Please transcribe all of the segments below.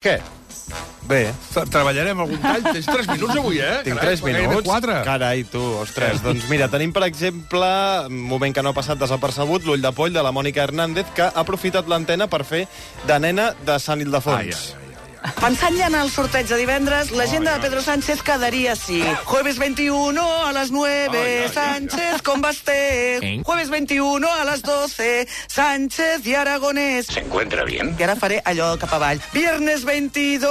Què? Bé, Tra- Treballarem algun tall? Tens 3 minuts avui, eh? tinc Carai, 3 gairebé minuts. quatre. Eh. Carai, tu, ostres. doncs mira, tenim, per exemple, un moment que no ha passat desapercebut, l'ull de poll de la Mònica Hernández, que ha aprofitat l'antena per fer de nena de Sant Ai, ai, Ildefons. ai, ai. Pensant ja en el sorteig de divendres, l'agenda de Pedro Sánchez quedaria així. Jueves 21 a las 9, Ai, ai, ai. Sánchez con Basté. Jueves 21 a las 12, Sánchez i Aragonès. ¿Se encuentra bien? I ara faré allò cap avall. Viernes 22,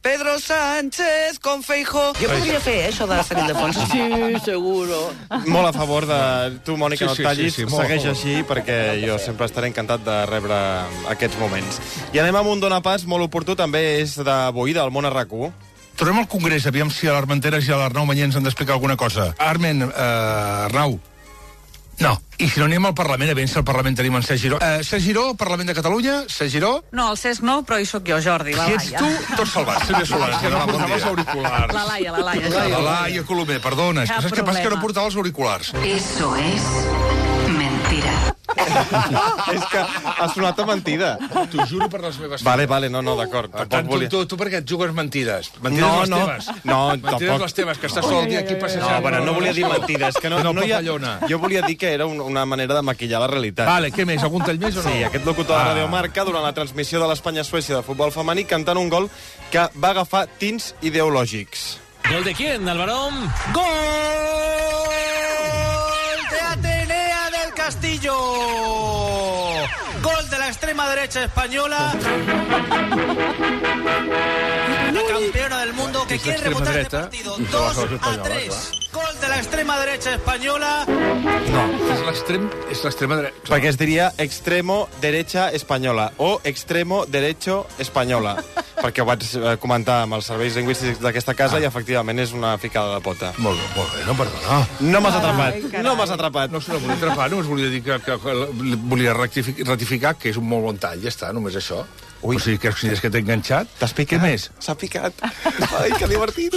Pedro Sánchez con Feijó. Jo podria fer, eh, això de Sant Ildefons. Sí, seguro. Molt a favor de tu, Mònica, Sí, no et sí, tallis. sí, sí, molt a Segueix favor. així, perquè jo sempre estaré encantat de rebre aquests moments. I anem amb un donapàs molt oportú, també és d'avui, del món arracú. Tornem al Congrés, aviam si a l'Armenteres i a l'Arnau Mañé ens han d'explicar alguna cosa. Armen, eh, Arnau, no. I si no anem al Parlament, a si al Parlament tenim en Sergi Giró. Eh, Sergi Giró, Parlament de Catalunya, Sergi Giró... No, el Cesc no, però hi sóc jo, Jordi, la Si ets Laia. tu, tot salvat. Sílvia Solans, que no portava els La auriculars. Laia, la Laia. La Laia Colomer, perdona. és que Cap Saps què passa? Que no problema. portava els auriculars. Eso es mentira. és que ha sonat a mentida. T'ho juro per les meves... Vale, vale, no, no, d'acord. Ah, Per Tampoc tant, tu, volia... tu, tu perquè et jugues mentides. Mentides No, les no. teves. No, mentides tampoc. les teves, que estàs sol el dia aquí No, passejant. bueno, no volia dir mentides, que no, No, no hi ha... papallona. Jo volia dir que era un, una manera de maquillar la realitat. Vale, què més? Algun tall més o no? Sí, aquest locutor de Ah. Radio Marca, durant la transmissió de l'Espanya-Suècia de futbol femení, cantant un gol que va agafar tins ideològics. ¿Gol de quién, Alvarón? ¡Gol de Atenea del Castillo! Gol de la extrema derecha española. La campeona del mundo que Es la quiere extrema remontar este derecha, partido. y se la 2 conoce a española, 3. Gol de la extrema derecha española. És l'extrem... És l'extrema dreta. Perquè es diria extremo derecha española o extremo derecho española, perquè ho vaig eh, comentar amb els serveis lingüístics d'aquesta casa ah. i efectivament és una ficada de pota. Molt bé, molt bé, no, perdona. No m'has atrapat, no m'has atrapat. No se la volia atrapar, només volia dir que, que, que volia rectific- ratificar que és un molt bon tall, ja està, només això. Ui. O sigui, que si és que t'he enganxat... Ah. T'has Què picat? més? S'ha picat. Ai, que divertit.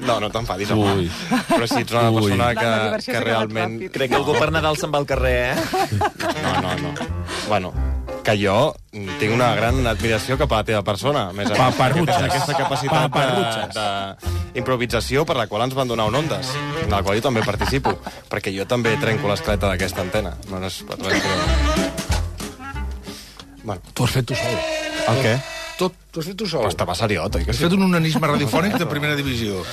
No, no t'enfadis, home. Ui. Però si ets una Ui. persona La que, diversió s'ha que acabat realment... ràpid. Crec que algú per Nadal se'n va al carrer, eh? No, no, no. Bueno, que jo tinc una gran admiració cap a la teva persona. a Més a Paparrutxes. Tens aquesta capacitat d'improvisació per la qual ens van donar un Ondes, en la qual jo també participo, perquè jo també trenco l'escleta d'aquesta antena. No és per res, però... Bueno, Tu has fet tu sol. el què? Tot, tu has fet tu sol. Estava seriot, oi que Has sí? fet un onanisme radiofònic de primera divisió.